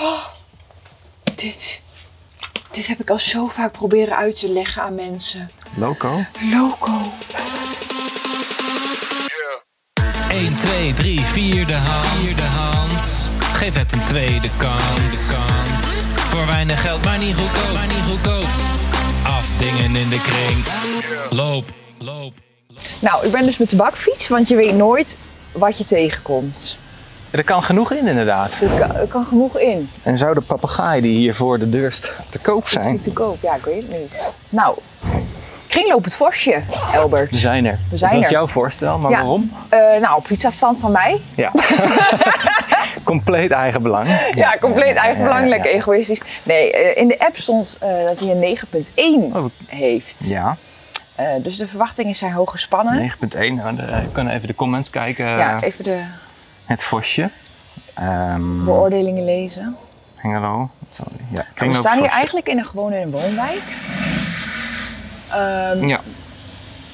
Oh, dit. Dit heb ik al zo vaak proberen uit te leggen aan mensen. Loco? Loco. 1, 2, 3, vierde hand. Vierde hand. Geef het een tweede kans. De kans. Voor weinig geld, maar niet goedkoop. Maar niet goedkoop. Afdingen in de kring. Loop, loop. Nou, ik ben dus met de bakfiets, want je weet nooit wat je tegenkomt. Er kan genoeg in, inderdaad. Er kan, er kan genoeg in. En zou de papegaai die hier voor de deur staat te koop zijn? Goed te koop, ja, ik weet het niet. Nou, kringloop het vosje, Elbert. We zijn er. We zijn Dat was er. jouw voorstel, maar Ja. waarom? Eh, nou, op fietsafstand van mij. Ja. Compleet eigen belang. Ja, compleet eigen belangrijk, ja, egoïstisch. Nee, eh, in de app stond eh, dat hij een 9.1 Oh. heeft. Ja, Eh, dus de verwachtingen zijn hoog gespannen. 9.1. Nou, de- eh, we kunnen even de comments kijken. Ja, even de Het vosje. Ehm, beoordelingen lezen. Hengelo. Wat zal- Ja, Oh, We Kringloop staan hier Vosje. eigenlijk in een gewone woonwijk. Ehm, Ja,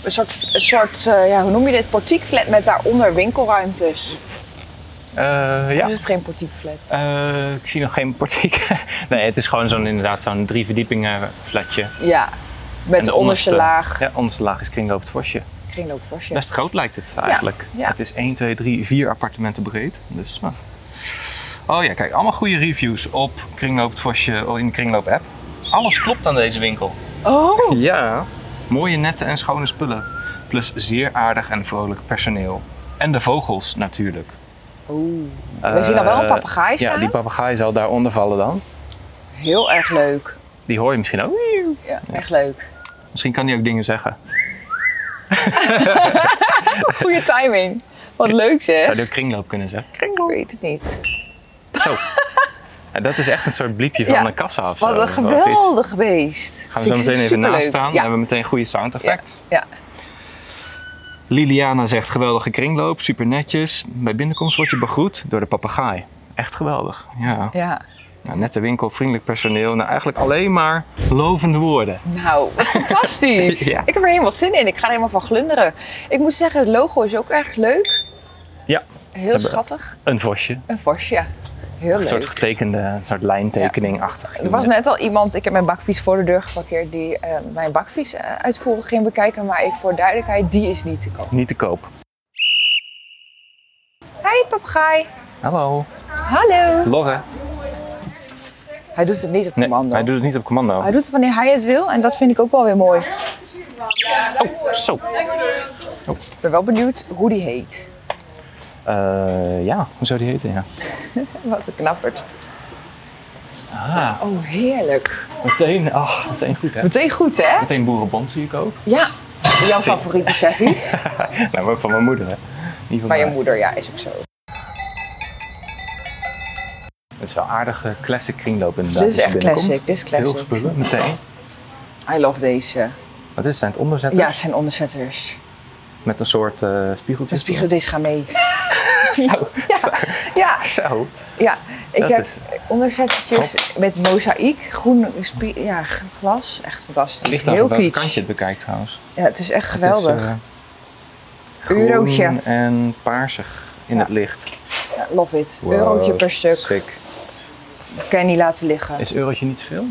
Een soort, een soort eh, ja, hoe noem je dit, portiekflat met daaronder winkelruimtes. Eh, Ja. ja. Dus het is geen portiekflat. Eh, ik zie nog geen portiek. nee, het is gewoon zo'n inderdaad zo'n drie verdiepingen flatje. En ja, met de de onderste laag. Ja, onderste laag is kringloop het vosje. Kringloopt vosje. Best groot lijkt het eigenlijk. ja. Het is 1, 2, 3, 4 appartementen breed. Dus, nou. Oh ja, kijk, allemaal goede reviews op Kringloop het Vosje in de Kringloop app. Alles klopt aan deze winkel. Oh, Ja. Mooie nette en schone spullen. Plus zeer aardig en vrolijk personeel. En de vogels natuurlijk. Oeh. we zien al wel een Eh, papegaai Ja, staan. die papegaai zal daaronder vallen dan. Heel erg leuk. Die hoor je misschien ook. Ja, echt leuk. Misschien kan die ook dingen zeggen. Goede timing. Wat leuk zeg. Zou die ook kringloop kunnen zeggen? Ik weet het niet. Zo. En dat is echt een soort bliepje van Ja. de kassa of zo. Wat een Of iets. geweldig beest. Gaan we zo Vind ik meteen even superleuk. naast staan. Dan Ja. hebben we meteen een goede sound effect. ja. Liliana zegt geweldige kringloop, super netjes. Bij binnenkomst word je begroet door de papegaai. Echt geweldig. Ja. ja. Nou, nette winkel, vriendelijk personeel. Nou, eigenlijk alleen maar lovende woorden. Nou, wat fantastisch. Ja. Ik heb er helemaal zin in. Ik ga er helemaal van glunderen. Ik moet zeggen, het logo is ook erg leuk. Ja. Heel hebben- schattig. Een vosje. Een vosje. ja. Heel Een leuk. soort getekende, een soort lijntekening-achtig. Er was net al iemand, ik heb mijn bakfiets voor de deur geparkeerd, die eh, mijn bakfiets eh, uitvoerig ging bekijken. Maar even voor duidelijkheid, die is niet te koop. Niet te koop. Hi papegaai. Hallo. Hallo. Lorre. Hij doet het niet op Nee, commando. hij doet het niet op commando. Hij doet het wanneer hij het wil en dat vind ik ook wel weer mooi. Oh, zo. Ik ben wel benieuwd hoe die heet. Eh, ja, hoe zou die heten? Ja. Wat een knappert. Ah, Oh, heerlijk. meteen, ach, meteen goed hè. Meteen goed, hè? Meteen boerenbond zie ik ook. Ja. Jouw favoriete seffies. nou, maar van mijn moeder hè. Niet van Maar je mij. moeder, ja, is ook zo. Het is wel een aardige classic kringloop inderdaad. Dit is als echt je binnenkomt. classic, dit is Veel classic. spullen, meteen. I love deze. Wat is het? Zijn het onderzetters? Ja, het zijn onderzetters. Met een soort eh spiegeltje. De spiegel, deze gaan mee. Zo. Zo. Ja, Zo. ja. Ik Dat heb is- onderzettertjes met mozaïek, groen spie- ja, g- glas. Echt Het fantastisch. ligt aan Heel van welke kitsch. kant je het bekijkt trouwens. Ja, het is echt Het is, geweldig. eh, groen Eurootje. en paarsig in Ja. het licht. Ja, love it. Wow, Eurotje per stuk. Sick. Kan je niet laten liggen. Is eurotje niet veel?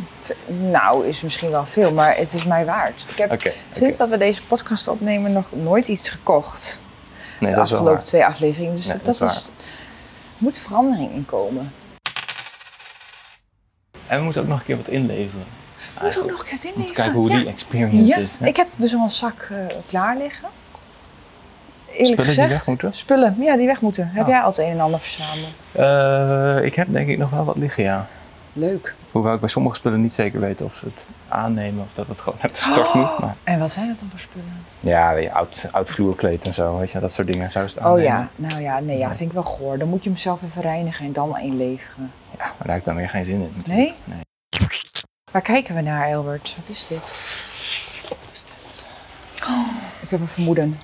Nou, is misschien wel veel, maar het is mij waard. Ik heb Oké. sinds dat we deze podcast opnemen nog nooit iets gekocht. oké. Nee, de dat is wel afgelopen waar. twee afleveringen. Dus Nee, dat, dat is dat is, moet verandering in komen. En we moeten ook nog een keer wat inleveren. We moeten ook nog een keer het Om te inleveren. kijken hoe ja. die experience Ja, is. hè? Ik heb dus al een zak eh, klaar liggen. Eerlijk Spullen die gezegd, weg moeten? Spullen, ja, die weg moeten. Heb Ah. jij al het een en ander verzameld? Eh, ik heb denk ik nog wel wat liggen, ja. Leuk. Hoewel ik bij sommige spullen niet zeker weet of ze het aannemen of dat het gewoon uit de stort Oh. moet. Maar... En wat zijn dat dan voor spullen? Ja, weet je, oud, oud vloerkleed en zo, weet je, dat soort dingen. Zou ze het Oh aannemen? ja, nou ja, nee, ja, vind ik wel goor. Dan moet je hem zelf even reinigen en dan inleveren. Ja, maar daar heb ik dan weer geen zin in. natuurlijk. nee? Waar kijken we naar, Elbert? Wat is dit? Oh. Ik heb een vermoeden.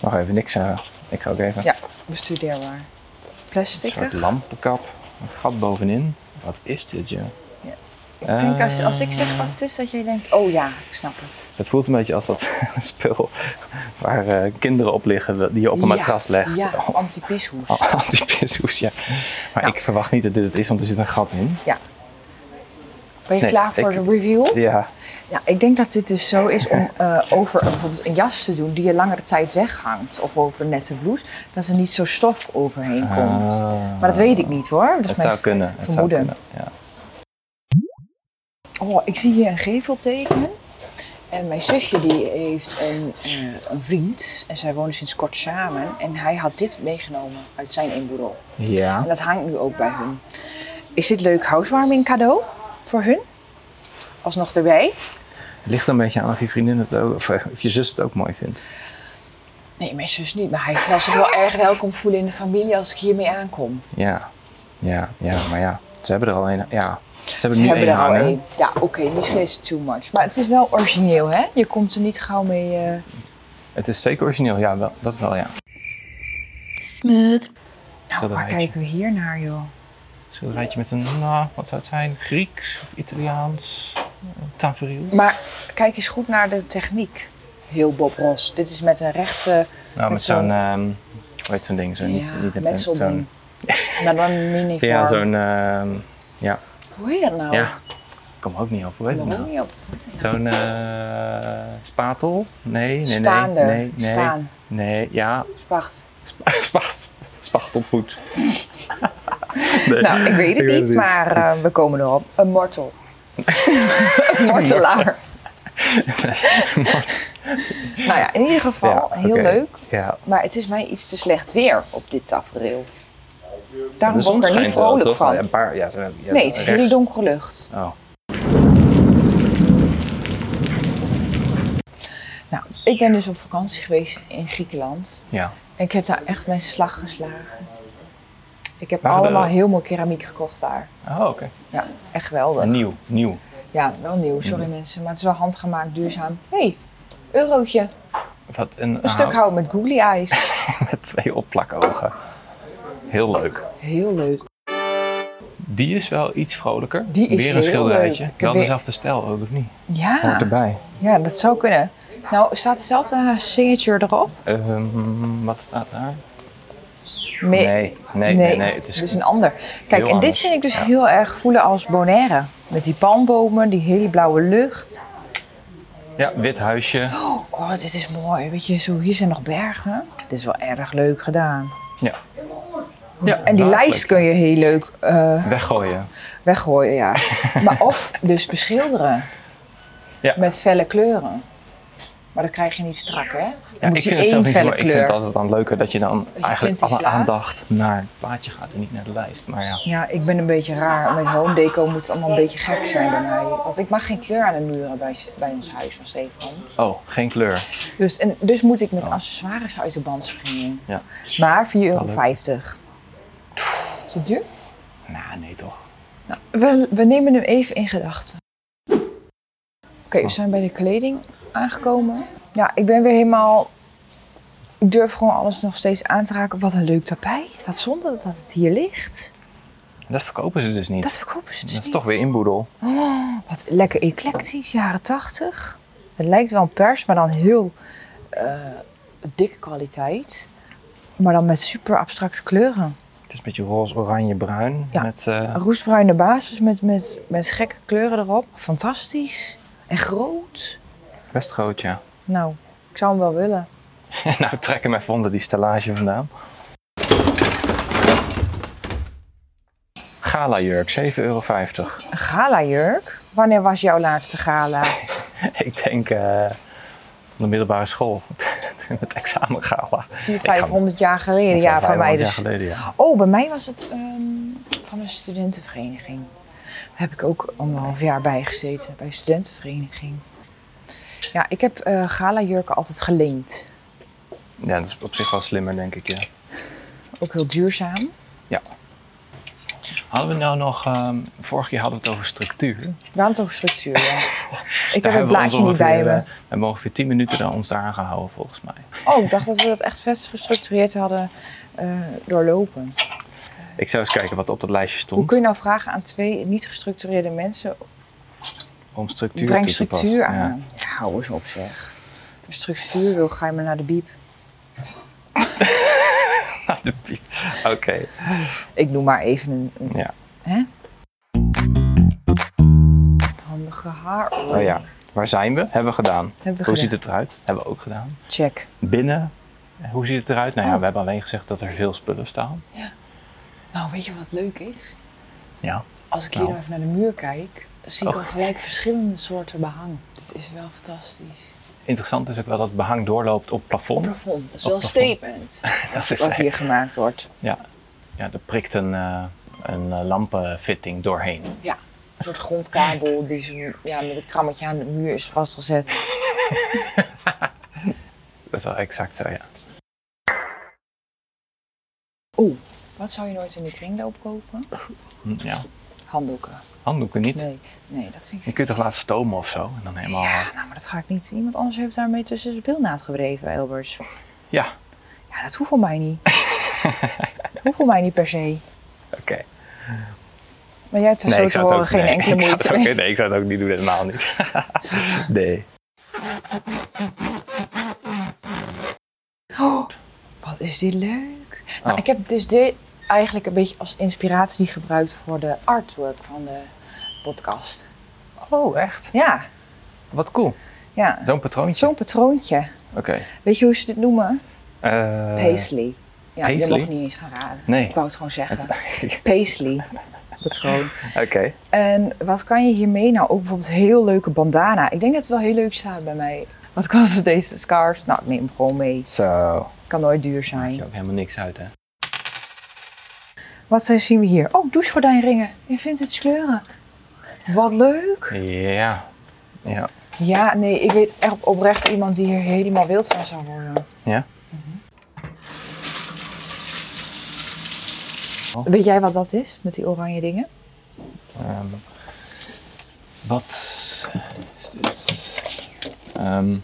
Nog even niks zeggen. Ik ga ook even. Ja, bestudeerbaar. een Plastic. soort lampenkap, een gat bovenin. Wat is dit, joh? Ja. Ik denk als, Eh. als ik zeg wat het is, dat jij denkt, oh ja, ik snap het. Het voelt een beetje als dat spul waar eh, kinderen op liggen, die je op een Ja, matras legt. Ja, Oh, antipishoes. oh, Antipishoes, ja. Maar Nou. ik verwacht niet dat dit het is, want er zit een gat in. Ben je nee, klaar voor ik- de review? Ja, Nou, ik denk dat dit dus zo is om eh, over een- bijvoorbeeld een jas te doen die je langere tijd weghangt. Of over een nette blouse, dat er niet zo stof overheen komt. Ah. maar dat weet ik niet hoor. Dat is het mijn zou kunnen. Het zou vermoeden. kunnen. Ja. Oh, ik zie hier een gevel tekenen. En mijn zusje die heeft een, eh, een vriend. En zij wonen sinds kort samen. En hij had dit meegenomen uit zijn inboedel. En ja. dat hangt nu ook bij hun. Is dit leuk housewarming cadeau voor hun? Alsnog erbij? Het ligt er een beetje aan of je vriendin het ook, of, eh, of je zus het ook mooi vindt. Nee, mijn zus niet. Maar hij zal zich wel erg welkom voelen in de familie als ik hiermee aankom. Ja, ja, ja, maar ja. Ze hebben er al een. Ja, ze hebben Ze er nu hebben één er al hangen. één. Ja, oké, misschien is het too much. Maar het is wel origineel, hè? Je komt er niet gauw mee. eh, Het is zeker origineel, ja, wel, dat wel, ja. Smooth. Nou, waar Schilderijtje. kijken we hier naar, joh? Schilderijtje met een, nou, wat zou het zijn? Grieks of Italiaans? eh, Tafereel? Maar kijk eens goed naar de techniek. Heel Bob Ross. Dit is met een rechte Nou, met Met zo'n, zo'n- eh, ehm hoe heet zo'n ding? Zo, niet, ja, niet een pen, metselding. zo'n- Maar dan een mini Ja, zo'n, ehm, Hoe heet dat nou? ja. Ik kom ook niet op, hoe heet het Waarom nou? niet op? Hoe heet dat nou? Zo'n eh, spatel? Nee, nee, nee. Spaander. Nee, nee, Spaan. nee, ja. Spacht. Spa, spa, spachtelvoet. nee. Nou, ik weet het niet, maar eh, Het we komen erop. Een mortel. een mortelaar. nou ja, in ieder geval, Ja, heel oké. leuk. is- Ja, Maar het is mij iets te slecht weer op dit tafereel. de Daarom zon word ik er niet schijnt wel, vrolijk toch? van. Ja, een paar, ja, ze- ja, nee, het is rechts. hele donkere lucht. Oh. Nou, ik ben dus op vakantie geweest in Griekenland. Ja. En ik heb daar echt mijn slag geslagen. Ik heb Waren allemaal er- heel mooi keramiek gekocht daar. Oh, oké. Ja, echt geweldig. Nieuw, nieuw. Ja, wel nieuw, sorry mensen. Maar het is wel handgemaakt, duurzaam. Hé, hey, eurotje. Een Wat een, stuk hout met googly eyes. met twee opplakogen. Heel leuk. Heel leuk. Die is wel iets vrolijker. Die is Weer een heel schilderijtje. leuk. Ik Wel heb weer- dezelfde stijl ook, of niet? Ja, erbij. ja, dat zou kunnen. Nou, staat dezelfde signature erop? Ehm, wat staat daar? Me- Nee, nee, nee. nee, het is dus een ander. Kijk, en dit anders, vind ik dus ja. heel erg voelen als Bonaire. Met die palmbomen, die hele blauwe lucht. Ja, wit huisje. Oh, dit is mooi. Weet je, zo, hier zijn nog bergen. Dit is wel erg leuk gedaan. Ja. Ja, en die lijst kun je heel leuk eh, Weggooien. weggooien, ja. maar of dus beschilderen. Ja. Met felle kleuren. Maar dat krijg je niet strak, hè? Dan Ja, moet ik je vind één het zelf niet zo, felle maar ik kleur. vind het altijd dan leuker dat je dan je eigenlijk 20 alle laat. aandacht naar het plaatje gaat en niet naar de lijst. Maar ja, Ja, ik ben een beetje raar. Met home deco moet het allemaal een beetje gek zijn bij mij. Want ik mag geen kleur aan de muren bij, bij ons huis van Stefan. oh, geen kleur. Dus, en, dus moet ik met accessoires uit de band springen. Oh. Ja. Maar 4,50 euro. Wel Is dat duur? Nou, nee toch. We, we nemen hem even in gedachten. Oké, Oh. we zijn bij de kleding aangekomen. Ja, ik ben weer helemaal. Ik durf gewoon alles nog steeds aan te raken. Wat een leuk tapijt. Wat zonde dat het hier ligt. Dat verkopen ze dus niet. Dat verkopen ze dus dat is niet. toch weer inboedel. Oh, wat lekker eclectisch, jaren 80. Het lijkt wel een pers, maar dan heel eh, dikke kwaliteit. Maar dan met super abstracte kleuren. Het is een beetje roze, oranje, bruin. Ja. Met, eh, Een roestbruine basis met, met, met gekke kleuren erop. Fantastisch. En groot. best groot, ja. Nou, ik zou hem wel willen. nou, ik trek hem even onder die stellage vandaan. Gala-jurk, 7,50 euro. Een gala-jurk? Wanneer was jouw laatste gala? ik denk eh, van de middelbare school. Toen het examengala. 400, ga- 500 jaar geleden. Dat is Ja, al van mij 500 dus. jaar geleden, ja. Oh, bij mij was het ehm, van mijn studentenvereniging. Daar heb ik ook anderhalf jaar bij gezeten, bij een studentenvereniging. Ja, ik heb eh gala-jurken altijd geleend. Ja, dat is op zich wel slimmer, denk ik, ja. Ook heel duurzaam. Hadden we nou nog... ehm vorige keer hadden we het over structuur. We hadden het over structuur, ja. Ik heb Daar het hebben we ons blaadje niet bij ongeveer, me. eh, We hebben ongeveer 10 minuten daar ons daar aan gehouden, volgens mij. Oh, ik dacht dat we dat echt best gestructureerd hadden eh, doorlopen. Ik zou eens kijken wat op dat lijstje Hoe stond. kun je nou vragen aan twee niet gestructureerde mensen om structuur Breng toe te passen. structuur Ja. aan. Ja. hou eens op zeg. Als je structuur wil, ga je maar naar de biep. De piep. Oké. Ik noem maar even een... een Ja. Hè? Handige haar. Nou ja, waar zijn we? Hebben we gedaan. Hebben we Hoe gedaan. ziet het eruit? Hebben we ook gedaan. Check. Binnen, hoe ziet het eruit? Nou ja, Oh. we hebben alleen gezegd dat er veel spullen staan. Nou, weet je wat leuk is? Ja. Als ik hier Nou. nou even naar de muur kijk, zie ik Oh. al gelijk verschillende soorten behang. Dit is wel fantastisch. Interessant is ook wel dat het behang doorloopt op het plafond. Plafond, dat is Op wel een plafond. statement. Dat is Wat echt- hier gemaakt wordt. Ja, er prikt een, eh, een eh, lampenfitting doorheen. Een soort grondkabel die zo, ja, met een krammetje aan de muur is vastgezet. Dat is wel exact zo, ja. Wat zou je nooit in de kringloop kopen? Hm, ja. Handdoeken. Handdoeken niet. Nee, nee dat vind Je ik... kunt toch laten stomen of zo? En dan helemaal... Ja, nou, maar dat ga ik niet. Iemand anders heeft daarmee tussen zijn bilnaad gewreven, Elbers. Ja, Ja, dat hoeft voor mij niet. dat hoeft voor mij niet per se. oké. Maar jij hebt er zo te horen geen nee, enkele ik zou het moeite mee. ook- nee, ik zou het ook niet doen, helemaal niet. nee. Oh, wat is dit leuk. Nou, Oh. ik heb dus dit eigenlijk een beetje als inspiratie gebruikt voor de artwork van de podcast. Oh, echt? Ja, Wat cool. ja. Zo'n patroontje. Zo'n patroontje. Oké. Weet je hoe ze dit noemen? Eh, Paisley. Ja, Paisley? je mag niet eens gaan raden. Nee. Ik wou het gewoon zeggen. Het- Paisley. Dat is gewoon. Eh, Oké. En wat kan je hiermee nou ook bijvoorbeeld een heel leuke bandana? Ik denk dat het wel heel leuk staat bij mij. Wat kost deze scarf? Nou, ik neem hem gewoon mee. Zo. Kan nooit duur Maakt zijn. je ook helemaal niks uit, hè? Wat zijn- zien we hier? Oh, douchegordijnringen in vintage kleuren. Wat leuk. Ja. Ja. Ja, nee, ik weet echt oprecht iemand die hier helemaal wild van zou worden. Mhm. Ja? Weet jij wat dat is met die oranje dingen? Ehm, wat... Ehm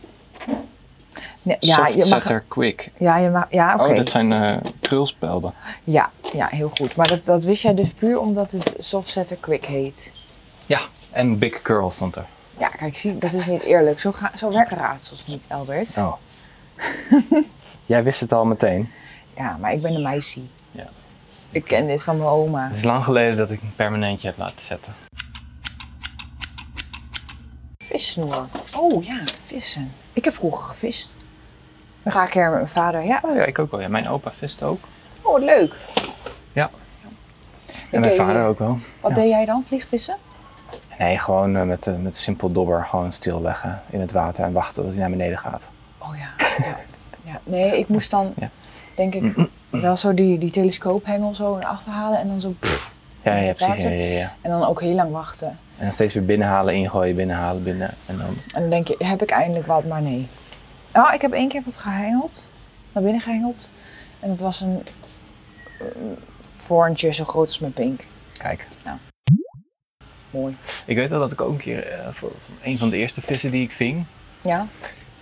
Nee, ja, ja, je mag, setter quick. ja, je mag, ja, oké. Oh, dat zijn eh, krulspelden. Ja, ja, heel goed. Maar dat, dat wist jij dus puur omdat het softsetter quick heet. Ja. En big curl stond er. Ja, kijk, zie, dat is niet eerlijk. Zo, ga, zo werken raadsels niet, Albert. Oh. Jij wist het al meteen. Ja, maar ik ben een meisje. Ja. Ik ken dit van mijn oma. Het is lang geleden dat ik een permanentje heb laten zetten. Vissnoer. Oh ja, vissen. Ik heb vroeger gevist. Dan ga ik er met mijn vader. Ja, Oh ja, ik ook wel. Ja. Mijn opa vist ook. oh wat leuk. Ja. Oké, En mijn vader ook wel. Wat deed jij dan? Vliegvissen? Nee, gewoon eh, met, eh, met simpel dobber gewoon stilleggen in het water en wachten tot hij naar beneden gaat. Oh ja. ja. ja. Nee, ik moest dan, Ja. denk ik, wel zo die, die telescoophengel zo naar achter halen en dan zo... pff, Ja, in ja, het precies. Ja, water. ja, ja. En dan ook heel lang wachten. En dan steeds weer binnenhalen, ingooien, binnenhalen, binnen. En dan... En dan denk je, heb ik eindelijk wat, maar nee. Nou, ik heb één keer wat gehengeld, naar binnen gehengeld. En dat was een eh, vorntje zo groot als mijn pink. Kijk. Mooi. Ik weet wel dat ik ook een keer, eh, voor voor een van de eerste vissen die ik ving, Ja,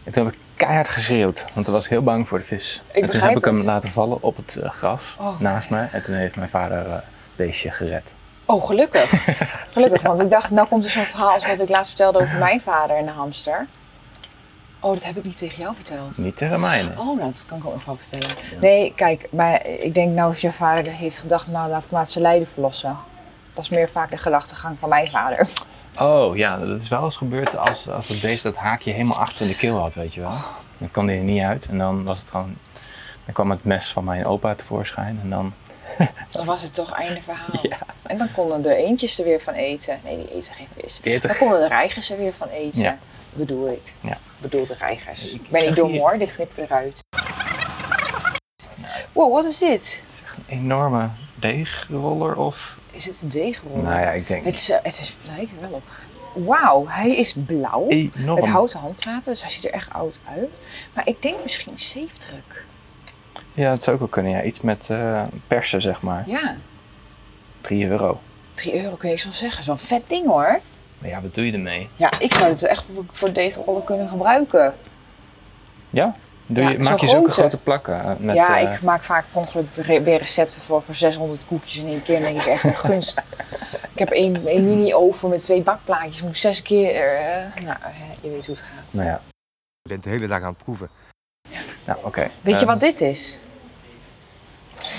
en toen heb ik keihard geschreeuwd, want toen was ik heel bang voor de vis. en toen begrijp heb ik hem het. laten vallen op het eh, gras Oh. naast me en toen heeft mijn vader eh, het beestje gered. Oh, gelukkig. Gelukkig, want ik dacht, nou komt er zo'n verhaal als wat ik laatst vertelde over mijn vader en de hamster. Oh, dat heb ik niet tegen jou verteld. Niet tegen mij, nee. Oh, nou, dat kan ik ook nog wel vertellen. Ja. Nee, kijk, maar ik denk nou of jouw vader heeft gedacht, nou laat ik maar zijn lijden verlossen. Dat is meer vaak de gedachtegang van mijn vader. Oh ja, dat is wel eens gebeurd als, als het beest dat haakje helemaal achter in de keel had, weet je wel. Oh. Dan kwam die er niet uit en dan was het gewoon. Dan kwam het mes van mijn opa tevoorschijn en dan. Dan was het toch einde verhaal. Ja. En dan konden de eentjes er weer van eten. Nee, die eten geen vis. Die eten Dan konden de reigers er weer van eten. Ja. Bedoel ik. Ja. Bedoel de reigers. Ik- ik Ik ben zag niet dom hier- hoor, dit knip ik eruit. Wow, wat is dit? Het is echt een enorme deegroller of. Is het een deegrol? Nou ja, ik denk. Het, is, eh, het, is, het lijkt er wel op. Wauw, hij is blauw. Enorm. Met houten handvaten, dus hij ziet er echt oud uit. Maar ik denk misschien zeefdruk. Ja, dat zou ook wel kunnen. Ja. Iets met eh, persen, zeg maar. Ja, 3 euro. 3 euro kun je zo zeggen. Zo'n vet ding hoor. Maar ja, wat doe je ermee? Ja, ik zou dit echt voor, voor deegrollen kunnen gebruiken. Ja? Doe Ja, je, zo'n maak je zulke grote. grote plakken? eh, Met, ja, eh, ik maak vaak per ongeluk re- weer recepten voor, voor 600 koekjes in één keer. En denk ik echt een gunst. Ik heb één, één mini-oven met twee bakplaatjes. Ik moest zes keer... eh, nou, hè, je weet hoe het gaat. Nou ja. Je bent de hele dag aan het proeven. Nou, oké. Weet je Ehm, wat dit is?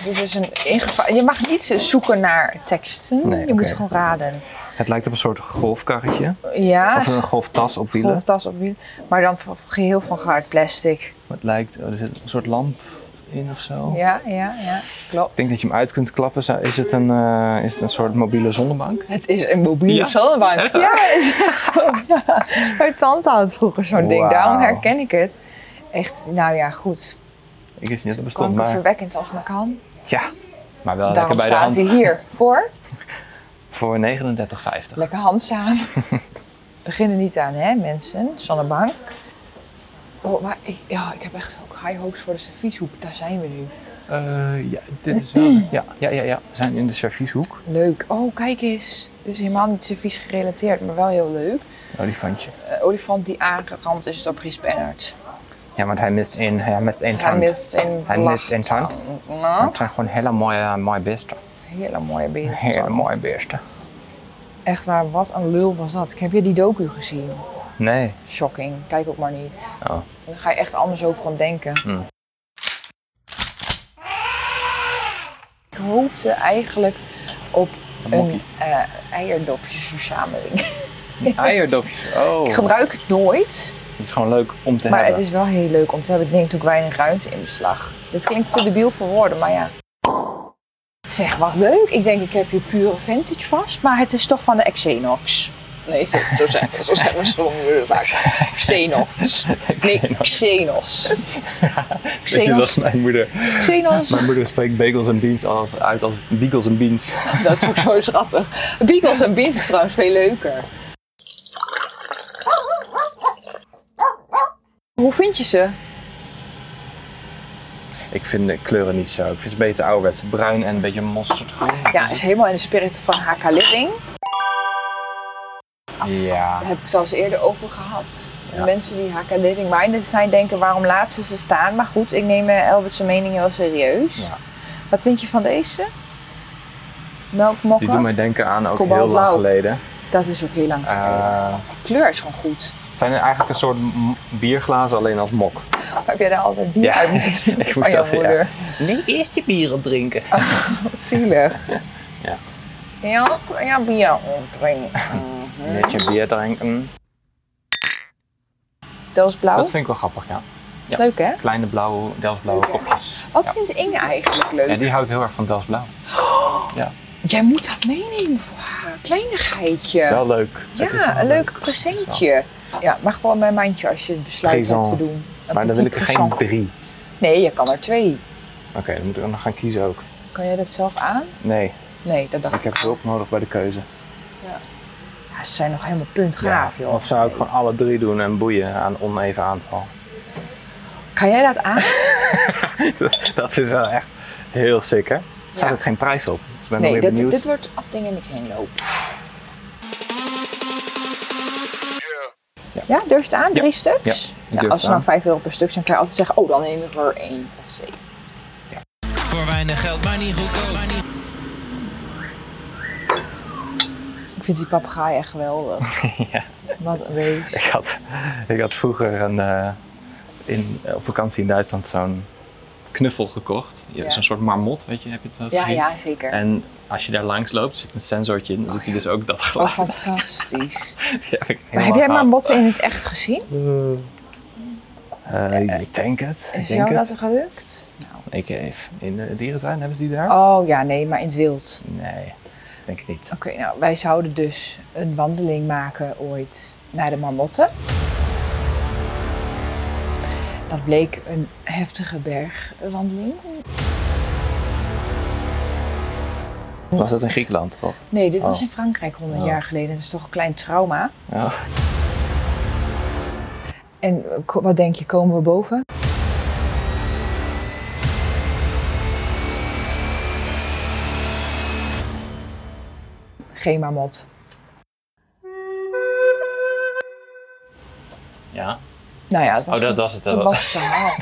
Dit is een ingeva- Je mag niet zoeken naar teksten. Nee, je oké. moet gewoon raden. Het lijkt op een soort golfkarretje. Ja, Of een golftas op wielen. golftas op wielen. Maar dan van- geheel van gehard plastic. Het lijkt, oh, er zit een soort lamp in of zo. Ja, ja, ja. Klopt. Oh. Ik denk dat je hem uit kunt klappen. Zou- Is het een, eh, is het een soort mobiele zonnebank? Het is een mobiele Ja? zonnebank. Ja, is echt zo. Ja. Mijn tante had vroeger zo'n ding. Wauw. Daarom herken ik het. Echt, nou ja, goed. Ik wist niet dat het bestond, maar Kankerverwekkend als maar kan. ja. Maar wel Daarom lekker bij de staat hand. hij hier voor. Voor 39,50. Lekker handzaam. Beginnen niet aan, hè, mensen. Zonnebank. Oh, maar ik, ja, ik heb echt ook high hopes voor de servieshoek. Daar zijn we nu. Eh, ja, dit is wel... Ja, ja, ja, ja. We zijn in de servieshoek. Leuk. Oh, kijk eens. Dit is helemaal niet servies gerelateerd, maar wel heel leuk. Olifantje. Eh, olifant die aangerand is door Chris Bernhard. Ja, want hij mist één, hij mist één Hij tand. mist een Hij vlag. mist één tand. Nou, Het zijn gewoon hele mooie, eh, mooie beesten. hele mooie beesten. Hele mooie beesten. Echt waar, wat een lul was dat. Ik heb je die docu gezien? Nee. Shocking. Kijk ook maar niet. Oh. Dan ga je echt anders over hem denken. Hmm. Ik hoopte eigenlijk op Een een mokkie. eh eierdopjesverzameling. Eierdopjes. Oh. Ik gebruik het nooit, Het is gewoon leuk om te maar hebben. het is wel heel leuk om te hebben. Het neemt ook weinig ruimte in beslag. Dit klinkt te debiel voor woorden, maar ja. Zeg, wat leuk. Ik denk, ik heb hier pure vintage vast, maar het is toch van de Xenox. Nee, zo, zo zeggen zo zeggen we zo vaak. Xenox. Nee, Xenos. Het is Xenos. als mijn moeder. Xenos. Mijn moeder spreekt bagels en beans als, uit als beagles en beans. Dat is ook zo schattig. Beagles en beans is trouwens veel leuker. Hoe vind je ze? Ik vind de kleuren niet zo. Ik vind ze beter ouderwets. Bruin en een beetje mosterdgroen. Ja, is helemaal in de spirit van HK Living. Ja. Daar heb ik het al eens eerder over gehad. Ja. Mensen die HK Living minded zijn, denken waarom laat ze ze staan. Maar goed, ik neem eh, Elbert zijn mening heel serieus. Ja. Wat vind je van deze? Die doen Melkmokken? mij denken aan ook heel lang Kobaltblauw. geleden. Dat is ook heel lang geleden. Eh, kleur is gewoon goed. het zijn eigenlijk een soort m- bierglazen alleen als mok. Heb jij daar altijd bier Ja, uit moeten drinken ik van moest jouw dat- ja. moeder? Oh, Nu eerst die bieren drinken. Wat zielig. Ja. Ja, als- ja bier opdrinken. Mhm. Netje bier mm. drinken. Dat is blauw. Dat vind ik wel grappig, ja. ja. Leuk hè? Kleine blauwe, Delftsblauwe kopjes. Wat Ja. vindt Inge eigenlijk leuk? Ja, die houdt heel erg van Delftsblauw. Jij moet dat meenemen voor haar. Kleinigheidje. Het is wel leuk. ja, Het is wel een leuk presentje. Ja, mag gewoon mijn mandje als je het besluit Présent. hebt te doen. Een Maar dan wil ik petit er présent. geen drie. Nee, je kan er twee. Oké, dan moet ik ook nog gaan kiezen ook. Kan jij dat zelf aan? Nee, Nee, dat dacht ik ik. heb hulp nodig bij de keuze. Ja, ze zijn nog helemaal puntgaaf, joh. Of zou ik gewoon alle drie doen en boeien aan oneven aantal? Kan jij dat aan? dat is wel echt heel sick, hè? Er staat Ja. ook geen prijs op. Dus ik ben Nee, nog weer dit, benieuwd. dit wordt afdingen en ik heen loop. Ja. durf je het aan? Ja. Drie stuks? Ja, ik Nou, durf als ze nou het aan. vijf euro per stuk zijn, kan je altijd zeggen, oh, dan neem ik er één of twee. Voor weinig geld, maar niet goedkoop. Maar niet Ik vind die papegaai echt geweldig. Ja. Wat een wees. Ik had, ik had vroeger een, eh, in, eh, op vakantie in Duitsland zo'n knuffel gekocht. Je- Ja. Zo'n soort marmot, weet je, heb je het wel eens Ja, gezien? ja, zeker. En als je daar langs loopt, zit een sensortje in, dan doet hij dus ook dat Oh, geluid. fantastisch. Die Maar heb ik helemaal heb jij maar gehaald. botten in het echt gezien? Eh, ik denk het. Is ik denk jou het. dat gelukt? Nou. Ik even. In de dierentuin hebben ze die daar? Oh ja, nee, maar in het wild. Nee, denk ik niet. Oké, nou, wij zouden dus een wandeling maken ooit naar de marmotten. Dat bleek een heftige bergwandeling. Was dat in Griekenland? Of? Nee, dit was Oh. in Frankrijk 100 Oh. jaar geleden. Dat is toch een klein trauma. Ja. En eh, ko- wat denk je, komen we boven? Geen marmot. ja. Nou ja, het was Oh, dat gewoon- was het. dat was het verhaal.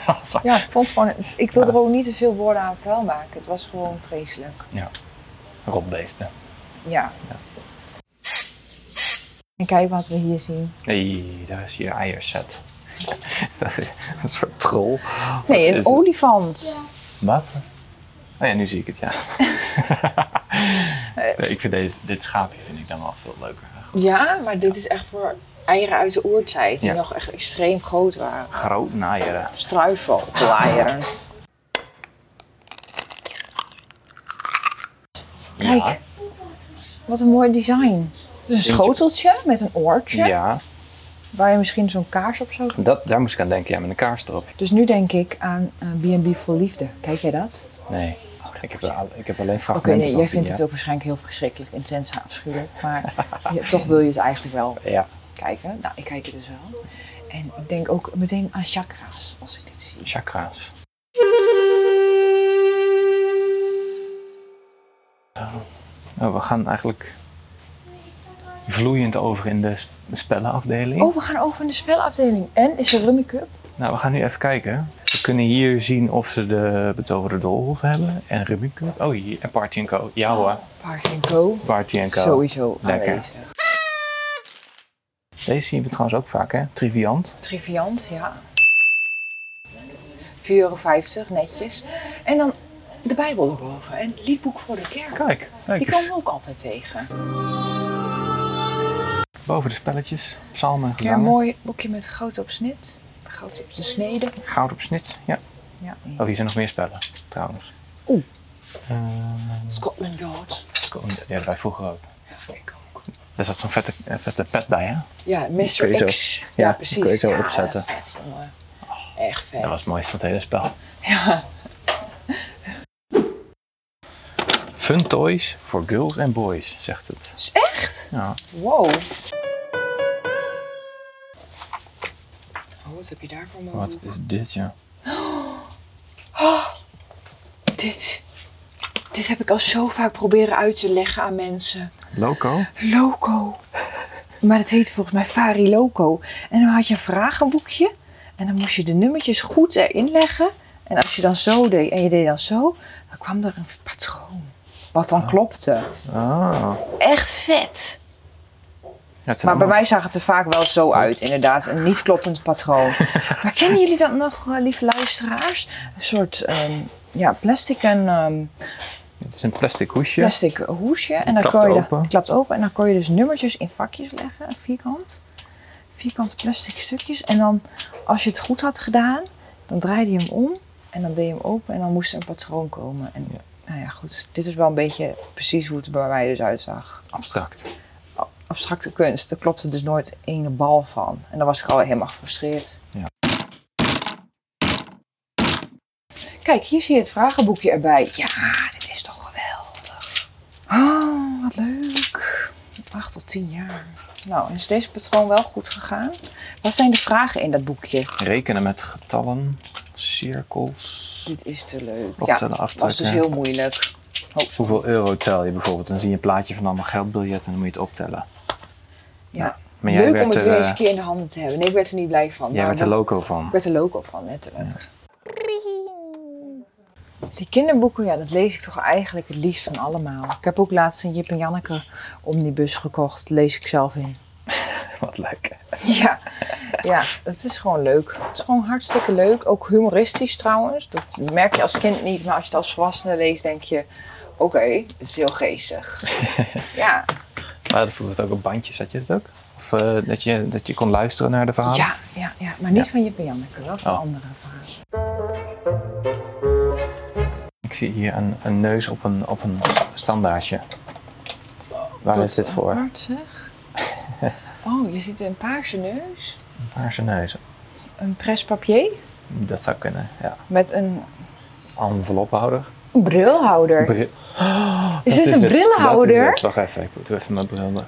Ja, ik vond het gewoon, ik wil er ook niet te veel woorden aan vuil maken. Het was gewoon vreselijk. Rotbeesten. Ja. En kijk wat we hier zien. Hey, daar is je eierset. dat is een soort troll. Nee, een is het? olifant. Wat? Oh ja, nu zie ik het, ja. Nee, ik vind deze, dit schaapje vind ik dan wel veel leuker. Ja, maar dit is echt voor eieren uit de oertijd. Die Ja. nog echt extreem groot waren. Groot naaieren. Struifelkleieren. Ja. Kijk. Wat een mooi design. Het is een Eentje. schoteltje met een oortje. Ja, Waar je misschien zo'n kaars op zou dat, daar moest ik aan denken, ja, met een kaars erop. Dus nu denk ik aan eh, B&B voor Liefde. Kijk jij dat? Nee, ik heb, er al- ik heb alleen Oké, fragmenten nee, jij van vindt het ja. ook waarschijnlijk heel verschrikkelijk, intens en afschuwelijk. Maar je- toch wil je het eigenlijk wel Ja, kijken. Nou, ik kijk het dus wel. En ik denk ook meteen aan chakra's als ik dit zie. chakra's. Nou, we gaan eigenlijk vloeiend over in de sp- spellenafdeling. Oh, we gaan over in de spelafdeling. En is er Rummy Cup? Nou, we gaan nu even kijken. We kunnen hier zien of ze de betoverde doolhof hebben. En Rubik. Oh, hier. En Party Co. Ja hoor, Party Co. Party Co. Sowieso Lekker. aanwezig. Deze zien we trouwens ook vaak, hè? Triviant. Triviant, ja. 4,50 euro, netjes. En dan de Bijbel erboven. En liedboek voor de kerk. Kijk, kijk Die komen eens. we ook altijd tegen. Boven de spelletjes, psalmen en Ja, een gezangen. mooi boekje met goud op snit. Goud op de snede. Goud op snit, ja. Ja, Oh, hier zijn nog meer spellen, trouwens. Oeh. Eh, Scotland Yard. Scone- die hebben wij vroeger ook. Ja, ik ook. Daar zat zo'n vette, eh, vette pet bij, hè? Ja, kun je Mr. zo- X. Ja, ja, precies. die kun je zo Ja, opzetten. Vet, jongen. Echt vet. Dat was het mooiste van het hele spel. Ja. Fun toys voor girls and boys, zegt het. Dus echt? Ja. Wow. Oh, wat heb je daarvoor mogen Wat is dit, ja? Dit. Dit heb ik al zo vaak proberen uit te leggen aan mensen. Loco? Loco. Maar het heette volgens mij Fari Loco. En dan had je een vragenboekje. En dan moest je de nummertjes goed erin leggen. En als je dan zo deed en je deed dan zo, dan kwam er een patroon. Wat dan klopte. Ah. Echt vet. Ja, het zijn Maar bij allemaal- mij zag het er vaak wel zo uit, inderdaad. Een niet kloppend patroon. maar kennen jullie dat nog, eh, lieve luisteraars? Een soort ehm, ja, plastic en ehm, Het is een plastic hoesje. plastic hoesje. En dan Klapt kon je open. Dat, klapt open. En dan kon je dus nummertjes in vakjes leggen, vierkant. Vierkante plastic stukjes. En dan, als je het goed had gedaan, dan draaide je hem om. En dan deed je hem open en dan moest er een patroon komen. En Ja. nou ja, goed. Dit is wel een beetje precies hoe het er bij mij dus uitzag. Abstract. Abstracte kunst, daar klopte dus nooit ene bal van. En dan was ik al helemaal gefrustreerd. Ja. Kijk, hier zie je het vragenboekje erbij. Ja, dit is toch geweldig. Oh, wat leuk. 8 tot 10 jaar. Nou, en is deze patroon wel goed gegaan? Wat zijn de vragen in dat boekje? Rekenen met getallen, cirkels, Dit is te leuk. ja, optellen, was aftrekken. dus heel moeilijk. Oh, zo. Hoeveel euro tel je bijvoorbeeld? Dan zie je een plaatje van allemaal geldbiljetten en dan moet je het optellen. Ja. Nou, maar jij Leuk werd om het er, weer eh, eens een keer in de handen te hebben. Nee, ik werd er niet blij van. Nou, Jij maar werd er wel- loco Ik van. werd er loco van, letterlijk. Die kinderboeken, ja, dat lees ik toch eigenlijk het liefst van allemaal. Ik heb ook laatst een Jip en Janneke omnibus gekocht. Lees ik zelf in. Wat leuk. Ja, ja, het is gewoon leuk. Het is gewoon hartstikke leuk. Ook humoristisch trouwens. Dat merk je als kind niet, maar als je het als volwassene leest, denk je... Oké, het is heel geestig. Ja, We hadden vroeger het Ah, ook op bandjes, had je dat ook? Of eh, dat, je, dat je kon luisteren naar de verhalen? ja, ja, ja. maar niet van Jip en Janneke, wel van Ah. Oh. andere verhalen. Ik zie hier een, een neus op een, op een standaardje. Waar is dit voor? Een Hard, zeg. Oh, je ziet een paarse neus. paarse neus. Een prespapier Dat zou kunnen, ja. met een Envelophouder. brilhouder. Bril. is Dat dit een het. Dat is brilhouder? het. Wacht even, ik doe even mijn bril naar.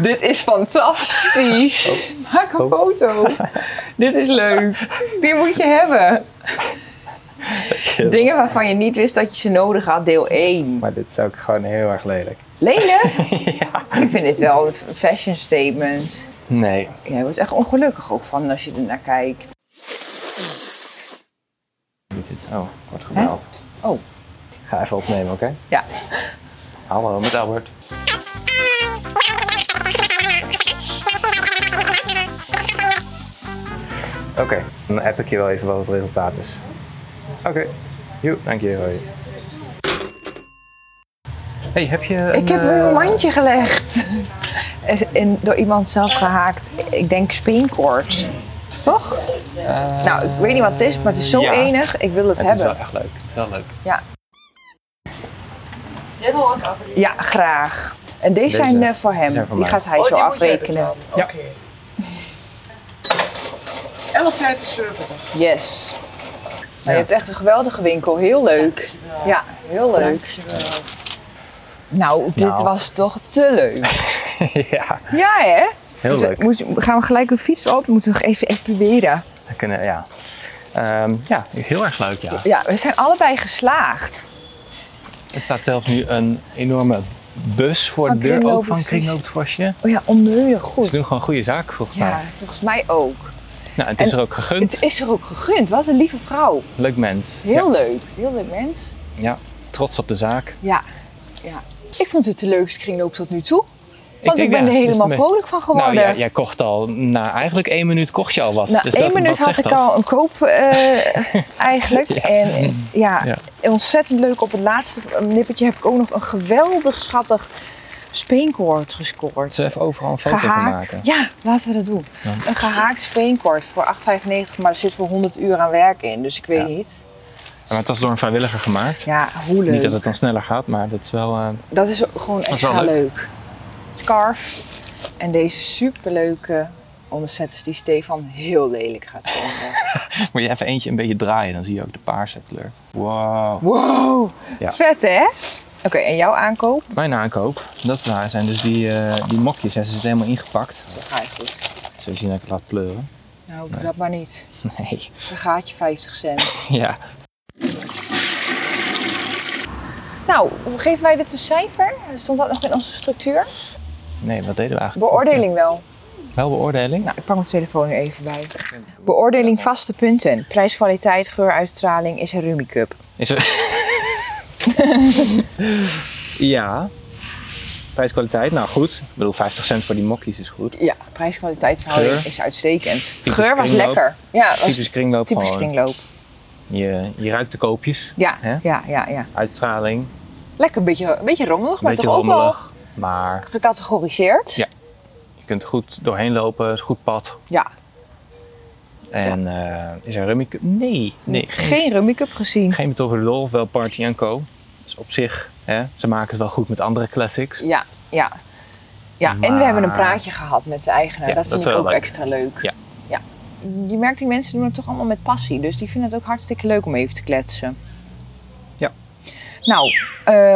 Dit is fantastisch. Maak een Oh. foto. Dit is leuk. Die moet je hebben. Dingen waarvan je niet wist dat je ze nodig had, deel 1. Maar dit is ook gewoon heel erg lelijk. Lene? Ik vind dit wel een fashion statement. Nee, Jij wordt echt ongelukkig ook van als je er naar kijkt. niet dit. Oh, ik word gebeld. Oh. Ga even opnemen, oké? Ja. Hallo, met Albert. Thank you. Oké, dan app ik je wel even wat het resultaat is. Oké, joe, dank je. hoi. Hey, heb je een, Ik heb eh, een mandje gelegd. En- En door iemand zelf gehaakt. Ik denk speenkoord. Toch? eh, Nou, ik weet niet wat het is, maar het is zo ja. enig. Ik wil het, Het is hebben. wel echt leuk. Het is wel leuk. Ja. Ja, graag. En deze, Deze. zijn eh, voor hem. Deze zijn voor die mij. gaat hij zo afrekenen. Ja. Oké. 11,75. Yes. Nou, Ja. Je hebt echt een geweldige winkel. Heel leuk. Ja, heel leuk. Nou, dit Nou. was toch te leuk. ja, Ja, hè? heel Moeten- leuk. moeten- gaan we gelijk een fiets op? Moeten we nog even, even proberen. We kunnen, ja. Ehm, ja, heel erg leuk, ja. Ja, we zijn allebei geslaagd. Er staat zelfs nu een enorme bus voor Van de deur, ook van Kringloopbevosje. Kringloopbevosje. Oh ja, onmeurig Ze goed. doen gewoon goede zaak, volgens Ja, mij. volgens mij ook. Nou, het is En er ook gegund. Het is er ook gegund. Wat een lieve vrouw. Leuk mens. Heel leuk. Heel leuk mens. Ja, ja. trots op de zaak. Ja. ja. Ik vond het de leukste kringloop tot nu toe. Want ik, denk, ben ja, er dus helemaal de- vrolijk van geworden. Nou, jij, jij kocht al, na eigenlijk één minuut kocht je al wat. Na dus Nou, één dat, minuut wat had zegt ik dat? al een koop eh, eigenlijk. Ja. En eh, ja, Ja. ontzettend leuk. Op het laatste eh, nippertje heb ik ook nog een geweldig schattig speenkoord gescoord. Zullen we even overal een foto van gehaakt. maken? Ja, laten we dat doen. Ja. Een gehaakt speenkoord voor 8,95, maar er zit voor 100 uur aan werk in. Dus ik weet Ja. niet. Maar het was door een vrijwilliger gemaakt. Ja, hoe leuk. Niet dat het dan sneller gaat, maar dat is wel... eh, Dat is gewoon is wel extra leuk. Scarf. En deze superleuke onderzetters die Stefan heel lelijk gaat vinden. Moet je even eentje een beetje draaien, dan zie je ook de paarse kleur. Wow. Wow, Ja. vet hè? Oké, en jouw aankoop? Mijn aankoop, dat zijn dus die, eh, die mokjes. Hè. Ze zitten helemaal ingepakt. Dat ga je goed. Zo zien dat ik het laat pleuren. Nou, doe dat maar niet. Nee. Dan gaat je 50 cent. Ja. nou, geven wij dit een cijfer? Stond dat nog in onze structuur? Nee, wat deden we eigenlijk? Beoordeling wel. Wel beoordeling. Nou, ik pak mijn telefoon er even bij. Beoordeling vaste punten. Prijs, kwaliteit, geur, uitstraling is een Rumicup. Is er... ja. Prijskwaliteit, nou goed. Ik bedoel, 50 cent voor die mokkies is goed. Ja, prijs-kwaliteit verhouding Geur? is uitstekend. Geur was kringloop. lekker. Ja, was Typisch kringloop typisch gewoon. kringloop. Je, je ruikt de koopjes. Ja, Hè? ja, ja, ja. Uitstraling. Een Lekker, een beetje, een beetje rommelig, maar beetje toch ook rommelig. wel Maar gecategoriseerd. Ja. je kunt er goed doorheen lopen. Het is een goed pad. Ja. En eh, is er een rummy? Nee. nee geen, Geen Rumicup gezien. geen met over de Dolf, wel Party Co. Dus op zich, hè, ze maken het wel goed met andere classics. Ja, ja. Ja, en Maar- we hebben een praatje gehad met de eigenaar. Ja, dat dat vind is ik wel ook leuk. extra leuk. Ja. ja. Je merkt, die mensen doen het toch allemaal met passie. Dus die vinden het ook hartstikke leuk om even te kletsen. Ja. Nou, eh,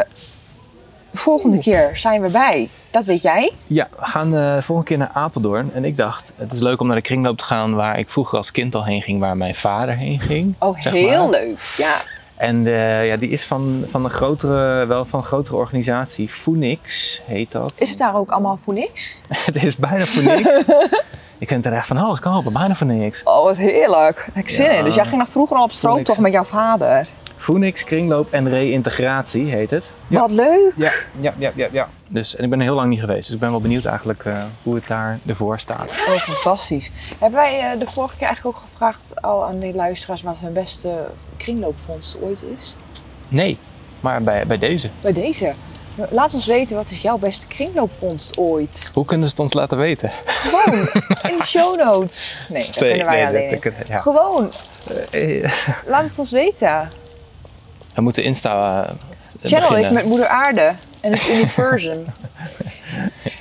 volgende keer zijn we bij. Dat weet jij. Ja, we gaan eh, de volgende keer naar Apeldoorn. En ik dacht, het is leuk om naar de kringloop te gaan waar ik vroeger als kind al heen ging, waar mijn vader heen ging. Oh, zeg heel maar. leuk. Ja. En eh, ja, die is van, van een grotere, wel van een grotere organisatie. Phoenix heet dat. Is het daar ook allemaal voor niks? het is bijna Phoenix. je kunt er echt van alles kopen, bijna voor niks. Oh, wat heerlijk. Daar heb ik zin Ja. in. Dus jij ging nog vroeger al op stroomtocht met jouw vader. Phoenix Kringloop en Reïntegratie heet het. Wat leuk. Ja, ja, ja, ja, ja. Dus, en ik ben er heel lang niet geweest, dus ik ben wel benieuwd eigenlijk eh, hoe het daar ervoor staat. Oh, fantastisch. Hebben wij eh, de vorige keer eigenlijk ook gevraagd al aan de luisteraars wat hun beste kringloopvondst ooit is? Nee, maar bij, bij deze. Bij deze. Laat ons weten, wat is jouw beste kringloopvondst ooit? Hoe kunnen ze het ons laten weten? Gewoon in de show notes. Nee, dat kunnen wij alleen dat- niet. dat- ja. Gewoon, Eh, laat het ons weten. We moeten Insta eh, Channel beginnen. heeft met moeder aarde en het universum.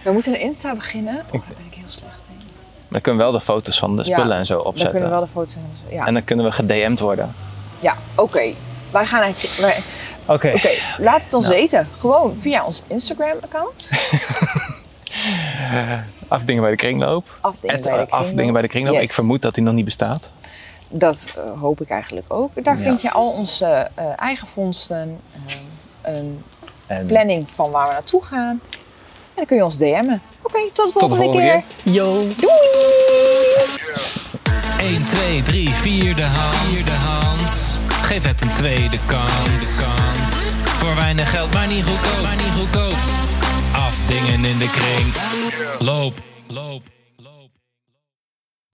We moeten een Insta beginnen. Oh, daar ben ik heel slecht in. Dan kunnen we wel de foto's van de Ja, spullen en zo Dan opzetten. kunnen we wel de foto's en zo- Ja, En dan kunnen we gedM'd worden. ja oké. Wij gaan naar... wij- Oké. Oké, nou. laat het ons weten. Gewoon via ons Instagram-account. Afdingen bij de kringloop. Afdingen Het, bij de eh, Afdingen bij de kringloop. Yes. Ik vermoed dat die nog niet bestaat. Dat eh, hoop ik eigenlijk ook. Daar Ja. vind je al onze eh, eigen vondsten, eh, een En planning van waar we naartoe gaan. En dan kun je ons DM'en. Oké, tot de volgende, tot de volgende keer. keer. Yo. 1, 2, 3, 4 de hand. Vierde hand. Geef het een tweede kans. kans. Voor weinig geld, maar niet goedkoop. Maar niet goedkoop. Afdingen in de kring. Loop, loop.